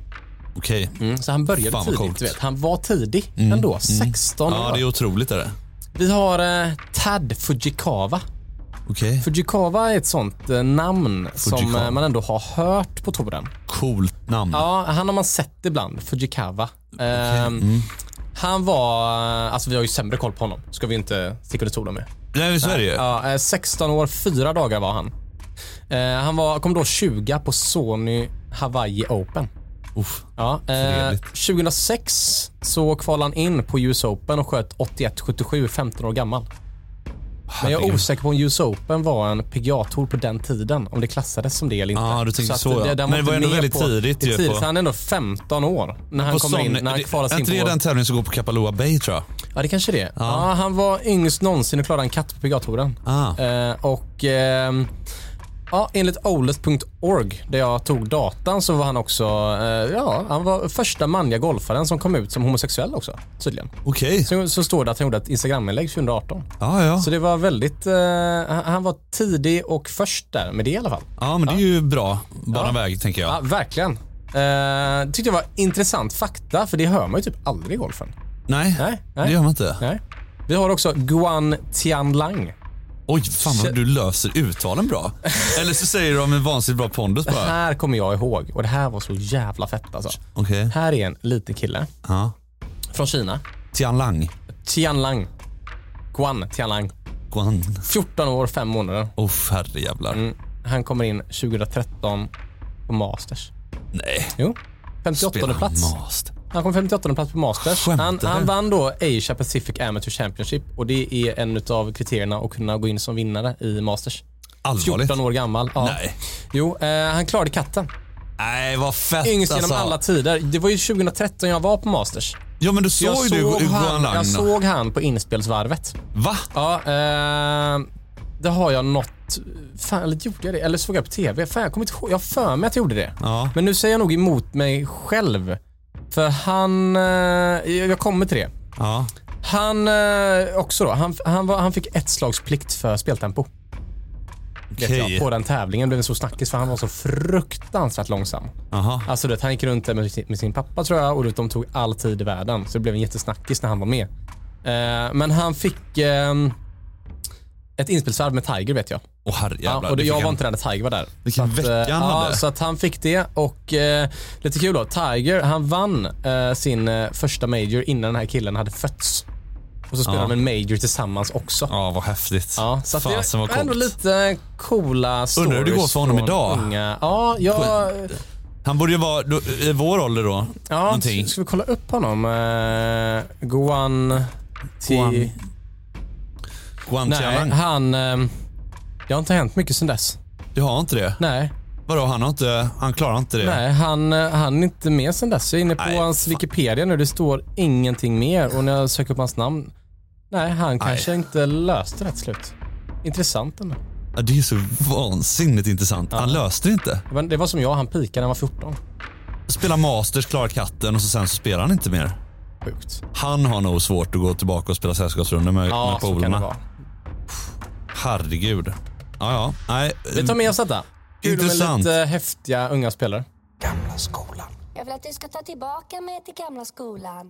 Speaker 2: Okej.
Speaker 1: Så han började
Speaker 2: Fan, vad
Speaker 1: tidigt.
Speaker 2: coolt. Mm.
Speaker 1: Du vet. Han var tidig ändå. 16
Speaker 2: Ja,
Speaker 1: år.
Speaker 2: det är otroligt. Är det?
Speaker 1: Vi har eh, Tad Fujikawa.
Speaker 2: Okej.
Speaker 1: Fujikawa är ett sånt eh, namn som
Speaker 2: Fujikawa.
Speaker 1: eh, man ändå har hört på touren.
Speaker 2: Coolt namn.
Speaker 1: Ja, han har man sett ibland. Fujikawa. Ehm,
Speaker 2: mm.
Speaker 1: Han var... Alltså vi har ju sämre koll på honom. Ska vi inte sticka under stolen med.
Speaker 2: Nej, så är det ju.
Speaker 1: Ja, eh, 16 år, fyra dagar var han. Eh, han var, kom då 20 på Sony Hawaii Open.
Speaker 2: Uff.
Speaker 1: Ja, eh,
Speaker 2: Trevligt.
Speaker 1: 2006 så kvalade han in på US Open och sköt 81-77, 15 år gammal. Men jag är
Speaker 2: Herregud.
Speaker 1: osäker på om US Open var en PGA-tour på den tiden. Om det klassades som det eller inte.
Speaker 2: Ah, du tänker
Speaker 1: att
Speaker 2: så, ja.
Speaker 1: den
Speaker 2: Men det
Speaker 1: inte
Speaker 2: var ändå
Speaker 1: med
Speaker 2: väldigt tidigt
Speaker 1: Det är
Speaker 2: ju
Speaker 1: tidigt.
Speaker 2: på-
Speaker 1: så Han är ändå 15 år när han
Speaker 2: På
Speaker 1: kommer in,
Speaker 2: Sonny-
Speaker 1: när han
Speaker 2: det-
Speaker 1: kvalas
Speaker 2: är
Speaker 1: in
Speaker 2: inte
Speaker 1: på...
Speaker 2: det den tävlingen som går på Kapalua Bay tror jag?
Speaker 1: Ja, det kanske är det är. Ja, han var yngst någonsin och klarade en katt på PGA-touren.
Speaker 2: Ah.
Speaker 1: Eh, och ehm, ja, enligt olet.org där jag tog datan så var han också, eh, ja, han var första manliga golfaren som kom ut som homosexuell också tydligen.
Speaker 2: Okej.
Speaker 1: Så, så står det att han gjorde ett Instagram-inlägg 2018.
Speaker 2: Ja, ja.
Speaker 1: Så det var väldigt, eh, han- han var tidig och först där med det i alla fall.
Speaker 2: ja, men det är ju bra. Bara väg tänker jag.
Speaker 1: Ja, verkligen. Eh, tyckte jag var intressant fakta, för det hör man ju typ aldrig i golfen.
Speaker 2: Nej,
Speaker 1: Nej, nej.
Speaker 2: det gör man inte.
Speaker 1: Nej. Vi har också Guan Tianlang.
Speaker 2: Oj, fan vad du löser uttalen bra. Eller så säger de en vansinnigt bra pondus bara.
Speaker 1: Här kommer jag ihåg och det här var så jävla fett alltså.
Speaker 2: Okej.
Speaker 1: Här är en liten kille
Speaker 2: Ja.
Speaker 1: från Kina.
Speaker 2: Tian Lang.
Speaker 1: Tianlang. Guan Tianlang.
Speaker 2: Guan.
Speaker 1: 14 år, 5 månader.
Speaker 2: Oh, herrejävlar.
Speaker 1: Han kommer in 2013 på Masters.
Speaker 2: Nej.
Speaker 1: Jo. 58
Speaker 2: Spelar
Speaker 1: plats.
Speaker 2: mast.
Speaker 1: Han kom 58 plats på Masters.
Speaker 2: Skämtar
Speaker 1: Han,
Speaker 2: du?
Speaker 1: han vann då Asia Pacific Amateur Championship och det är en av kriterierna att kunna gå in som vinnare i Masters.
Speaker 2: Allvarligt.
Speaker 1: 14 år gammal. Ja.
Speaker 2: Nej.
Speaker 1: Jo, eh, han klarade katten.
Speaker 2: Nej, vad fett
Speaker 1: Yngst
Speaker 2: alltså.
Speaker 1: genom alla tider. Det var ju 2013 jag var på Masters.
Speaker 2: Ja, men du
Speaker 1: Jag,
Speaker 2: såg ju du
Speaker 1: såg,
Speaker 2: Guan
Speaker 1: han,
Speaker 2: Lang.
Speaker 1: jag såg han på inspelsvarvet.
Speaker 2: Va?
Speaker 1: Ja, eh, det har jag något... Fan, eller gjorde jag det? Eller såg jag på TV? Fan, jag kommer inte ihåg. Jag har för mig att jag gjorde det.
Speaker 2: Ja.
Speaker 1: Men nu säger jag nog emot mig själv. För han... Eh, jag jag kommer till det.
Speaker 2: Ja.
Speaker 1: Han eh, också då, han, han, var, han fick ett slags plikt för speltempo. Vet
Speaker 2: Okej.
Speaker 1: jag, på den tävlingen blev det så snackis för han var så fruktansvärt långsam.
Speaker 2: Aha.
Speaker 1: Alltså du vet, han gick runt där med sin, med sin pappa tror jag och du vet, de tog all tid i världen. Så det blev en jättesnackis när han var med. Eh, men han fick ehm, ett inspelsvarv med Tiger vet jag.
Speaker 2: Åh, herrejävlar.
Speaker 1: Ja, och det,
Speaker 2: det fick
Speaker 1: jag
Speaker 2: han.
Speaker 1: var inte där när Tiger var där.
Speaker 2: Vilken
Speaker 1: Så att,
Speaker 2: vecka
Speaker 1: eh,
Speaker 2: han
Speaker 1: ja,
Speaker 2: hade.
Speaker 1: Så att han fick det och eh, lite kul då. Tiger, han vann eh, sin eh, första major innan den här killen hade fötts. Och så spelade
Speaker 2: Ja.
Speaker 1: de en major tillsammans också. Ja.
Speaker 2: Ja, vad häftigt.
Speaker 1: så att det
Speaker 2: Fasen vad
Speaker 1: var ändå
Speaker 2: coolt.
Speaker 1: lite coola stories
Speaker 2: hur det går för honom
Speaker 1: från
Speaker 2: idag.
Speaker 1: Unga. Ja, jag,
Speaker 2: Han borde ju vara då, i vår ålder då.
Speaker 1: ja,
Speaker 2: Någonting.
Speaker 1: ska vi kolla upp honom? Eh, Guan... Ti-
Speaker 2: Guan- Guan
Speaker 1: Nej,
Speaker 2: Tianang.
Speaker 1: han... ehm, det har inte hänt mycket sedan dess.
Speaker 2: Du har inte det?
Speaker 1: Nej.
Speaker 2: Vadå, han, har inte, han klarar inte det?
Speaker 1: Nej, han, eh, han är inte med sen dess. Jag är inne på
Speaker 2: Nej,
Speaker 1: hans
Speaker 2: fan.
Speaker 1: Wikipedia nu. Det står ingenting mer och när jag söker upp hans namn. Nej, han kanske inte löste det till slut. Intressant ändå.
Speaker 2: Ja, Det är så vansinnigt intressant. Han löste det inte.
Speaker 1: Det var- Det var som jag, han pikade när han var 14.
Speaker 2: Spela Masters, klarar katten och så sen så spelar han inte mer.
Speaker 1: Sjukt.
Speaker 2: Han har nog svårt att gå tillbaka och spela sällskapsrundor med,
Speaker 1: Ja,
Speaker 2: med
Speaker 1: så kan det
Speaker 2: polarna.
Speaker 1: vara.
Speaker 2: Herregud. Ja, ja. Nej. mm.
Speaker 1: Vi tar med oss detta. Kul med
Speaker 2: Intressant.
Speaker 1: lite eh, häftiga unga spelare.
Speaker 3: Gamla skolan.
Speaker 4: Jag vill att du ska ta tillbaka mig till gamla skolan.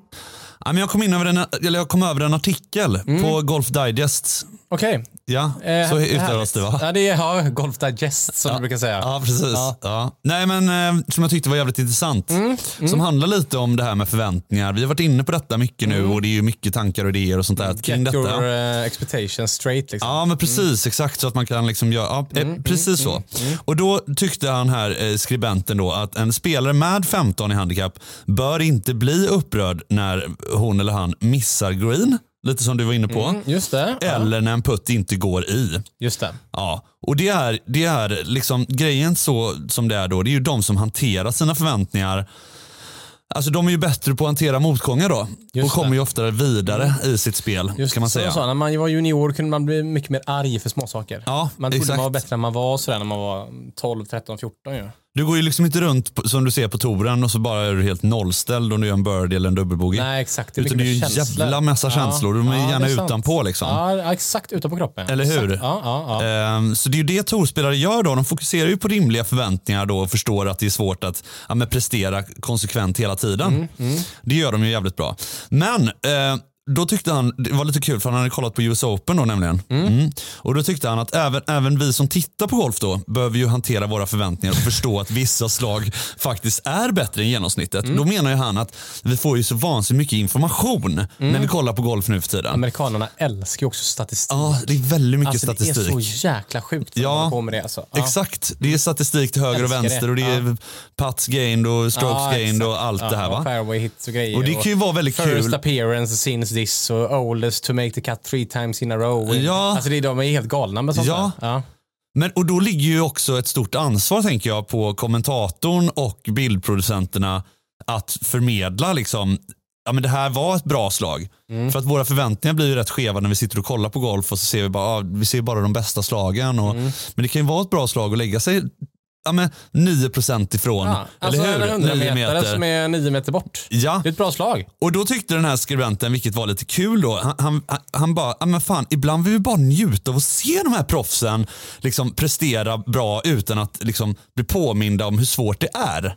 Speaker 2: Ja, men jag, kom in över en, eller jag kom över en artikel på Golf Digest.
Speaker 1: Okej.
Speaker 2: Ja,
Speaker 1: Mm. eh,
Speaker 2: så uttalas
Speaker 1: härligt.
Speaker 2: det va?
Speaker 1: Ja, det är ja, Golf Digest som du brukar säga.
Speaker 2: Ja, precis. Ja. Nej, men eh, som jag tyckte var jävligt intressant.
Speaker 1: Mm.
Speaker 2: Som handlar lite om det här med förväntningar. Vi har varit inne på detta mycket nu
Speaker 1: Mm.
Speaker 2: och det är ju mycket tankar och idéer och sånt där kring
Speaker 1: Get
Speaker 2: detta.
Speaker 1: your eh, expectations straight liksom.
Speaker 2: Ja, men precis. Exakt så att man kan liksom göra... Ja,
Speaker 1: Mm.
Speaker 2: eh, precis så. Och då tyckte han här, eh, skribenten då, att en spelare med 15 i handikapp bör inte bli upprörd när hon eller han missar green. Lite som du var inne på.
Speaker 1: Just det. Mm. Ja.
Speaker 2: Eller när en putt inte går i.
Speaker 1: Just det.
Speaker 2: Ja, och det är, det är liksom grejen så som det är då. Det är ju de som hanterar sina förväntningar. Alltså de är ju bättre på att hantera motgångar då.
Speaker 1: Just
Speaker 2: och kommer
Speaker 1: det. Mm.
Speaker 2: ju oftare vidare i sitt spel.
Speaker 1: Just
Speaker 2: kan man
Speaker 1: som
Speaker 2: säga.
Speaker 1: jag sa, när man var junior kunde man bli mycket mer arg för småsaker.
Speaker 2: Ja,
Speaker 1: man trodde
Speaker 2: exakt.
Speaker 1: man var bättre än man var sådär när man var 12, 13, 14 ju.
Speaker 2: Du går ju liksom inte runt på, som du ser på touren och så bara är du helt nollställd om du gör en birdie eller en dubbelbogey.
Speaker 1: Nej, exakt. Det är
Speaker 2: Utan det är
Speaker 1: mycket
Speaker 2: ju en
Speaker 1: mer känslor.
Speaker 2: jävla massa känslor. De är
Speaker 1: ja,
Speaker 2: gärna
Speaker 1: det sant.
Speaker 2: utanpå liksom.
Speaker 1: Ja, ja, exakt. Utanpå kroppen.
Speaker 2: Eller hur?
Speaker 1: Exakt. Ja, ja, ja.
Speaker 2: Ehm, Så det är ju det tourspelare gör då. De fokuserar ju på rimliga förväntningar då och förstår att det är svårt att ja, men prestera konsekvent hela tiden.
Speaker 1: Mm,
Speaker 2: Det gör de ju jävligt bra. Men eh, då tyckte han, det var lite kul för han hade kollat på US Open då nämligen. Mm. Och då tyckte han att även, även vi som tittar på golf då behöver ju hantera våra förväntningar och förstå att vissa slag faktiskt är bättre än genomsnittet.
Speaker 1: Mm.
Speaker 2: Då menar ju han att vi får ju så vansinnigt mycket information
Speaker 1: Mm.
Speaker 2: när vi kollar på golf nu för tiden.
Speaker 1: Amerikanerna älskar ju också statistik.
Speaker 2: Ja, det är väldigt mycket
Speaker 1: alltså,
Speaker 2: statistik.
Speaker 1: Det är så jäkla sjukt att
Speaker 2: Ja.
Speaker 1: man håller på med det. Alltså. Ja.
Speaker 2: Exakt, det är statistik till höger och
Speaker 1: Älskar det.
Speaker 2: vänster och det är pats gained och strokes
Speaker 1: Ja,
Speaker 2: gained
Speaker 1: exakt.
Speaker 2: och allt
Speaker 1: Ja,
Speaker 2: det här.
Speaker 1: och
Speaker 2: va?
Speaker 1: Fairway hits och grejer.
Speaker 2: Och det kan ju vara väldigt
Speaker 1: first
Speaker 2: kul.
Speaker 1: appearance since this och oldest to make the cut three times in a row.
Speaker 2: Ja.
Speaker 1: Alltså det är, de är helt galna med sånt
Speaker 2: Ja. Mm.
Speaker 1: där. Ja.
Speaker 2: Men, och då ligger ju också ett stort ansvar tänker jag på kommentatorn och bildproducenterna att förmedla liksom, ja men det här var ett bra slag.
Speaker 1: Mm.
Speaker 2: För att våra förväntningar blir ju rätt skeva när vi sitter och kollar på golf och så ser vi bara, ah, vi ser bara de bästa slagen. Och,
Speaker 1: Mm.
Speaker 2: Men det kan ju vara ett bra slag att lägga sig ja, men 9% ifrån.
Speaker 1: Ja. Alltså
Speaker 2: eller hur?
Speaker 1: en 100
Speaker 2: Nio
Speaker 1: meter som är nio meter bort.
Speaker 2: Ja.
Speaker 1: Det är ett bra slag.
Speaker 2: Och då tyckte den här skribenten, vilket var lite kul då, han, han, han bara, "Ja, men fan, ibland vill vi bara njuta av att se de här proffsen liksom prestera bra utan att liksom bli påminda om hur svårt det är.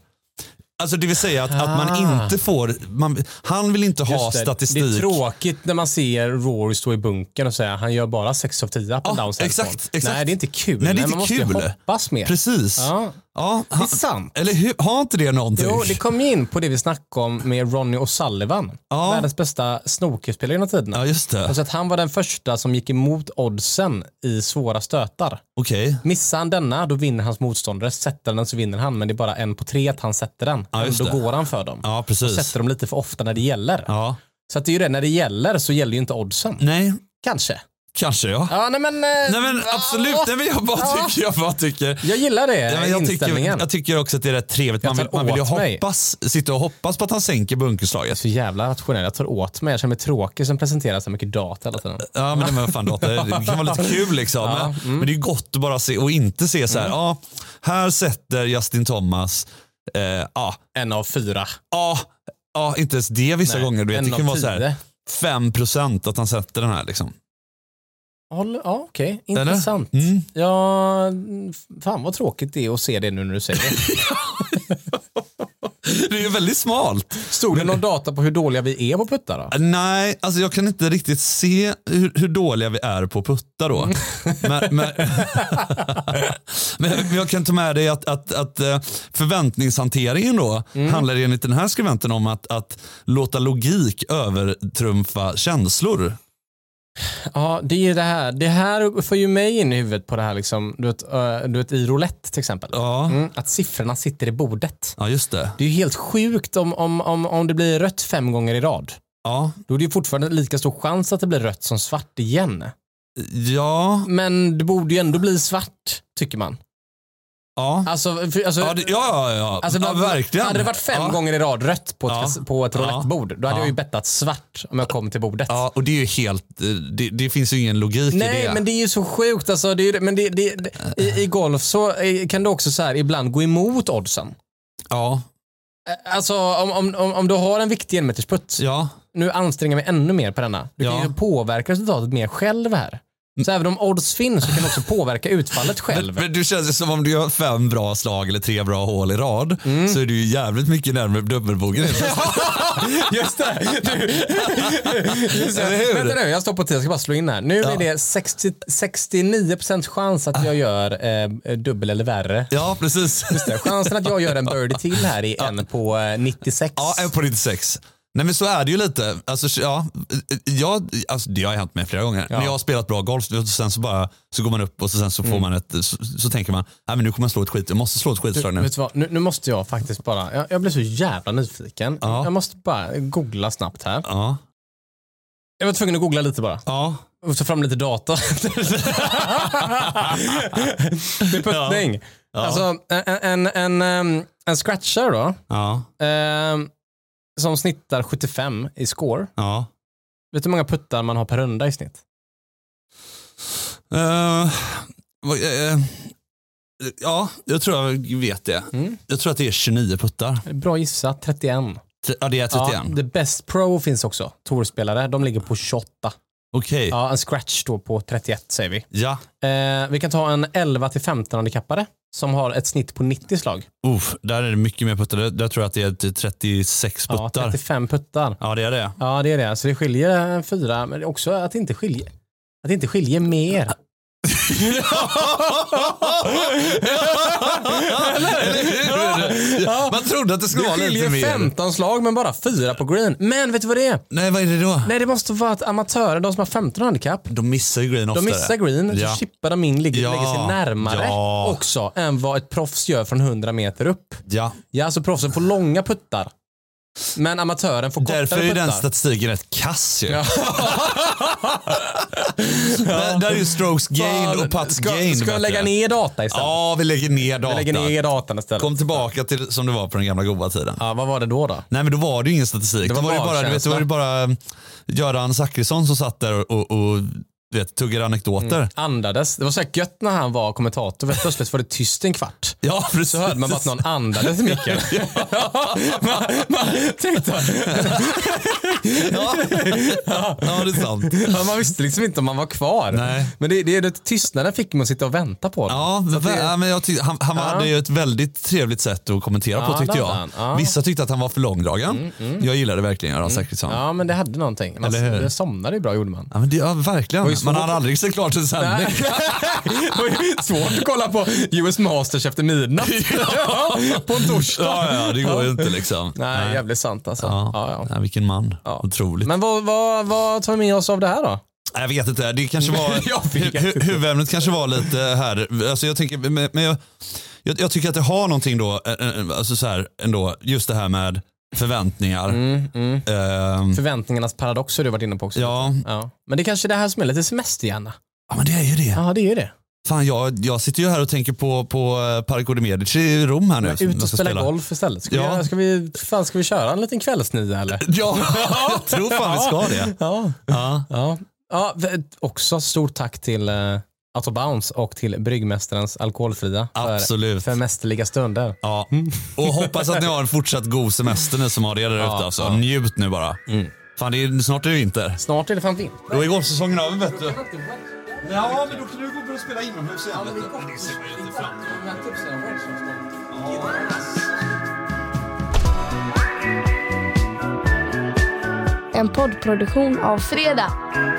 Speaker 2: Alltså det vill säga att, att man
Speaker 1: Ah.
Speaker 2: inte får, man, han vill inte ha
Speaker 1: Just det.
Speaker 2: statistik.
Speaker 1: Det är tråkigt när man ser Rory stå i bunkern och säga han gör bara 6 av 10 på
Speaker 2: Ja,
Speaker 1: ah, downs
Speaker 2: exakt,
Speaker 1: handphone."
Speaker 2: exakt.
Speaker 1: Nej, det är inte kul.
Speaker 2: Nej, det är
Speaker 1: man
Speaker 2: inte
Speaker 1: måste
Speaker 2: kul.
Speaker 1: ju hoppas mer.
Speaker 2: Precis.
Speaker 1: Ja.
Speaker 2: Ja, han,
Speaker 1: Det är sant.
Speaker 2: eller hur, har inte det någonting?
Speaker 1: Jo, det kom ju in på det vi snackade om med Ronnie O'Sullivan.
Speaker 2: Ja.
Speaker 1: Världens bästa snookerspelare genom tiderna.
Speaker 2: Ja, just det.
Speaker 1: Alltså att han var den första som gick emot oddsen i svåra stötar.
Speaker 2: Okej.
Speaker 1: Missar han denna, då vinner hans motståndare. Sätter den så vinner han, men det är bara en på tre att han sätter den.
Speaker 2: Ja, just
Speaker 1: då
Speaker 2: det.
Speaker 1: går han för dem.
Speaker 2: Ja, precis.
Speaker 1: Sätter dem lite för ofta när det gäller.
Speaker 2: Ja.
Speaker 1: Så att det är ju det, när det gäller så gäller ju inte oddsen.
Speaker 2: Nej,
Speaker 1: Kanske.
Speaker 2: kanske ja.
Speaker 1: Ja, nej men... eh,
Speaker 2: Nej men absolut, nej, men jag bara
Speaker 1: Ja.
Speaker 2: tycker, jag bara tycker.
Speaker 1: Jag gillar det,
Speaker 2: Ja, men jag, tycker,
Speaker 1: inställningen.
Speaker 2: jag tycker också att det är rätt trevligt.
Speaker 1: Jag
Speaker 2: Man vill,
Speaker 1: tar
Speaker 2: man vill ju
Speaker 1: åt mig.
Speaker 2: hoppas, sitta och hoppas på att han sänker bunkerslaget.
Speaker 1: Så jävla rationell. Jag tar åt mig. Jag känner mig tråkig som presenterar så mycket data hela tiden.
Speaker 2: Ja, men det, men fan, Lotta, det kan vara lite kul liksom. men,
Speaker 1: Mm.
Speaker 2: men det är gott att bara se och inte se så här. Ja, här sätter Justin Thomas, eh, ja,
Speaker 1: En av fyra.
Speaker 2: ja, ja, inte ens det vissa
Speaker 1: Nej,
Speaker 2: gånger. Du vet,
Speaker 1: en
Speaker 2: det kan
Speaker 1: av
Speaker 2: vara så här
Speaker 1: tio.
Speaker 2: 5% att han sätter den här liksom.
Speaker 1: Håll, ja, okej.
Speaker 2: Eller?
Speaker 1: Intressant.
Speaker 2: Mm.
Speaker 1: Ja, fan vad tråkigt det är att se det nu när du säger det.
Speaker 2: Det är ju väldigt smalt.
Speaker 1: Stod det någon data på hur dåliga vi är på puttar då?
Speaker 2: Nej, alltså jag kan inte riktigt se hur, hur dåliga vi är på att putta då. Men, men, men jag- jag kan ta med dig att, att, att eh, förväntningshanteringen då
Speaker 1: Mm.
Speaker 2: handlar enligt den här skribenten om att, att låta logik övertrumfa känslor.
Speaker 1: Ja, det är ju det här. Det här får ju mig in i huvudet på det här liksom, du vet, eh, du vet i roulette till exempel.
Speaker 2: Ja,
Speaker 1: Mm, att siffrorna sitter i bordet.
Speaker 2: ja just det.
Speaker 1: Det är ju helt sjukt om, om, om, om det blir rött fem gånger i rad.
Speaker 2: Ja,
Speaker 1: Då är det ju fortfarande lika stor chans att det blir rött som svart igen.
Speaker 2: ja,
Speaker 1: Men det borde ju ändå bli svart, tycker man.
Speaker 2: ja.
Speaker 1: Alltså, för, alltså,
Speaker 2: Ja, det, ja, ja, ja.
Speaker 1: Alltså,
Speaker 2: ja
Speaker 1: vad-
Speaker 2: verkligen.
Speaker 1: Hade det varit fem
Speaker 2: ja.
Speaker 1: gånger i rad rött på ett,
Speaker 2: Ja.
Speaker 1: kas- på ett
Speaker 2: Ja.
Speaker 1: roulettebord, då hade
Speaker 2: Ja.
Speaker 1: jag ju bettat svart om jag kom till bordet.
Speaker 2: Ja, och det är ju helt, eh, det, det finns ju ingen logik i
Speaker 1: Nej,
Speaker 2: det.
Speaker 1: men det är ju så sjukt. Alltså, det är ju, det- men det, det, det, i, I golf så eh, kan du också så här, ibland gå emot oddsen.
Speaker 2: Ja,
Speaker 1: Eh, Alltså om, om, om, om du har en viktig enmetersputt,
Speaker 2: ja.
Speaker 1: nu anstränger jag mig ännu mer på denna. Du kan
Speaker 2: Ja.
Speaker 1: ju påverka resultatet mer själv här. Så även om odds finns så kan du också påverka utfallet själv.
Speaker 2: Men du känns ju som om du gör fem bra slag eller tre bra hål i rad
Speaker 1: Mm.
Speaker 2: så är du ju jävligt mycket närmare dubbelbogen.
Speaker 1: Just det! Just det.
Speaker 2: Eller hur?
Speaker 1: Vänta nu, jag står på tio, jag ska bara slå in här. Nu
Speaker 2: Ja. Ah.
Speaker 1: är det 60, 69% chans att jag gör eh, dubbel eller värre.
Speaker 2: ja, precis.
Speaker 1: Chansen att jag gör en birdie till här är en på eh, 96.
Speaker 2: Ja, en på 96. Nej men så är det ju lite. Alltså, ja, jag, alltså, det har hänt mig flera gånger. När jag har spelat bra golf och sen så, bara, så går man upp och så, sen så, får
Speaker 1: Mm.
Speaker 2: man ett, så, så tänker man nej, men nu kommer jag slå ett skit, jag måste slå ett skitslag nu.
Speaker 1: Vet du vad? Nu, nu måste jag faktiskt bara, jag, jag blir så jävla nyfiken.
Speaker 2: Ja.
Speaker 1: Jag måste bara googla snabbt här.
Speaker 2: Ja.
Speaker 1: Jag var tvungen att googla lite bara.
Speaker 2: Ja.
Speaker 1: Och ta fram lite data. det är puttning. Alltså, en, en, en, ehm, en scratcher då.
Speaker 2: Ja.
Speaker 1: Ehm, som snittar 75 i score.
Speaker 2: ja.
Speaker 1: Vet du hur många puttar man har per runda i snitt?
Speaker 2: Eh, vad- eh, ja, jag tror jag vet det.
Speaker 1: Mm.
Speaker 2: Jag tror att det är 29 puttar.
Speaker 1: Bra gissat, 31.
Speaker 2: T- Ja, det är 31.
Speaker 1: Ja, The Best Pro finns också, tourspelare. De ligger på 28.
Speaker 2: Okej.
Speaker 1: Ja, en scratch då på 31 säger vi.
Speaker 2: Ja.
Speaker 1: Eh, vi kan ta en 11 till 15 handikappare som har ett snitt på 90 slag.
Speaker 2: Uff, där är det mycket mer puttar. Där- Där tror jag att det är ett 36
Speaker 1: Ja,
Speaker 2: puttar. Ja,
Speaker 1: 35 puttar.
Speaker 2: det är det.
Speaker 1: Ja, det är det. Så det skiljer eh, fyra, men det är också att det inte skiljer, att det inte skiljer mer.
Speaker 2: Eller hur? Man trodde att det skulle
Speaker 1: Det
Speaker 2: vara lite
Speaker 1: skiljer
Speaker 2: mer.
Speaker 1: 15 slag, men bara fyra på green. Men vet du vad det är?
Speaker 2: Nej, vad är det då?
Speaker 1: Nej, det måste vara att amatörer, de som har 15 handikapp,
Speaker 2: De missar ju green
Speaker 1: de
Speaker 2: oftare.
Speaker 1: missar green,
Speaker 2: Ja.
Speaker 1: så chippar de in, ligger,
Speaker 2: Ja.
Speaker 1: lägger sig närmare
Speaker 2: Ja.
Speaker 1: också än vad ett proffs gör från 100 meter upp.
Speaker 2: Ja.
Speaker 1: Ja, alltså proffsen får långa puttar. Men amatören får kortare
Speaker 2: Därför är den
Speaker 1: puttar.
Speaker 2: statistiken rätt kass ju. Men Där är ju strokes gain och putts
Speaker 1: ska,
Speaker 2: gain.
Speaker 1: Ska jag
Speaker 2: vet
Speaker 1: lägga
Speaker 2: du.
Speaker 1: ner data istället?
Speaker 2: Ja, vi lägger ner
Speaker 1: jag
Speaker 2: data.
Speaker 1: lägger ner datan istället.
Speaker 2: Kom tillbaka till som det var på den gamla goda tiden.
Speaker 1: Ja, vad var det då då?
Speaker 2: Nej men då var det ju ingen statistik.
Speaker 1: Det
Speaker 2: Det
Speaker 1: var
Speaker 2: var, det bara, du vet, det var ju bara eh, Göran Zachrisson som satt där och, och du vet, tuggade anekdoter.
Speaker 1: Mm. Andades. Det var så här gött när han var kommentator. vet, Plötsligt var det tyst en kvart.
Speaker 2: Ja precis.
Speaker 1: Så hörde man bara att någon andades i micken. man, man tänkte,
Speaker 2: Ja. ja det är sant.
Speaker 1: Ja, man visste liksom inte om man var kvar.
Speaker 2: Nej.
Speaker 1: Men det, det, det tystnaden fick man sitta och vänta på. den.
Speaker 2: Ja,
Speaker 1: Så att det-
Speaker 2: ja, men jag tyckte, han, han hade ju ett väldigt trevligt sätt att kommentera
Speaker 1: Ja,
Speaker 2: på tyckte
Speaker 1: det
Speaker 2: jag.
Speaker 1: hade han. Ja. Mm,
Speaker 2: Vissa tyckte att han var för långdragen. Jag gillade verkligen Göran Zachrisson. Ja.
Speaker 1: ja men det hade någonting. Man
Speaker 2: Eller hur?
Speaker 1: det somnade ju bra gjorde man.
Speaker 2: men det, ja, verkligen.
Speaker 1: Det var ju
Speaker 2: Man
Speaker 1: svårt.
Speaker 2: hade aldrig sett klart en sändning.
Speaker 1: det var ju svårt att kolla på US Masters efter midnatt. på en torsdag.
Speaker 2: Ja, ja, det går ju inte liksom.
Speaker 1: Nej, jävligt sant alltså.
Speaker 2: Ja.
Speaker 1: Ja. Ja,
Speaker 2: Nej, vilken man.
Speaker 1: Ja.
Speaker 2: Otroligt.
Speaker 1: Men vad, vad, vad tar vi med oss av det här då?
Speaker 2: Jag vet inte, det kanske var,
Speaker 1: Jag vet
Speaker 2: hu- hu- huvudämnet kanske var lite här, alltså jag, tänker, men, men jag, jag, jag tycker att det har någonting då, eh, eh, alltså så här, ändå, just det här med förväntningar.
Speaker 1: Mm,
Speaker 2: Ehm,
Speaker 1: Förväntningarnas paradox har du varit inne på också.
Speaker 2: ja.
Speaker 1: Ja. Men det är kanske är det här som är lite semesterhjärna.
Speaker 2: ja, men det är ju det.
Speaker 1: Ja, det är ju det.
Speaker 2: Fan, jag, jag sitter ju här och tänker på, på eh, Parco de Medici i Rom här nu. som
Speaker 1: Ut
Speaker 2: jag
Speaker 1: och
Speaker 2: ska
Speaker 1: spela, golf istället. Ska,
Speaker 2: Ja.
Speaker 1: vi, ska, vi, fan, ska vi köra en liten kvällsnia eller?
Speaker 2: Ja, jag tror fan vi ska det.
Speaker 1: Ja.
Speaker 2: Ja.
Speaker 1: Ja. Ja, v- också stort tack till uh, Out of Bounds och till Bryggmästarens Alkoholfria för,
Speaker 2: Absolut.
Speaker 1: för mästerliga stunder.
Speaker 2: Ja. Och hoppas att ni har en fortsatt god semester ni som har det där ute. alltså. Njut nu bara.
Speaker 1: Mm.
Speaker 2: Fan, det är, snart är det vinter.
Speaker 1: Snart är det fan vinter.
Speaker 2: Då är golfsäsongen över vet du. Ja, men då kan du gå och spela inomhus igen. vet du. Det ser man ju inte fram emot.
Speaker 5: En poddproduktion av Fredag.